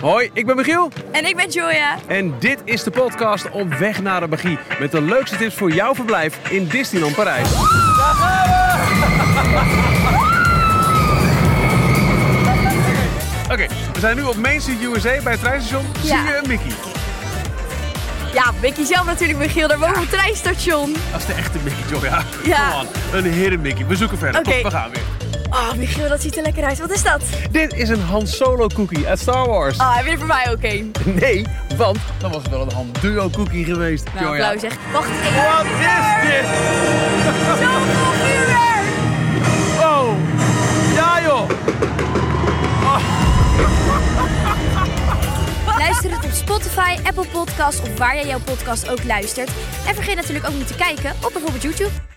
Hoi, ik ben Michiel En ik ben Joya. en dit is de podcast Op Weg naar de Magie. Met de leukste tips voor jouw verblijf in Disneyland Parijs. Oké, we zijn nu op Main Street USA bij het treinstation. Ja. Zie je een Mickey? Ja, Mickey zelf natuurlijk, Michiel. Daar woont een treinstation. Dat is de echte Mickey, Joya. Ja. Come on, een heren Mickey. We zoeken verder. Oké. Kom, we gaan weer. Oh, Michiel, dat ziet er lekker uit. Wat is dat? Dit is een Han Solo cookie uit Star Wars. Ah, heb je er voor mij ook een? Nee, want dan was het wel een Han Duo cookie geweest, Nou, Joya. blauw zeg. Wacht even. Wat is dit? Zoveel vuurwerk! Oh, ja joh. Luister het op Spotify, Apple Podcasts of waar jij jouw podcast ook luistert. En vergeet natuurlijk ook niet te kijken op bijvoorbeeld YouTube.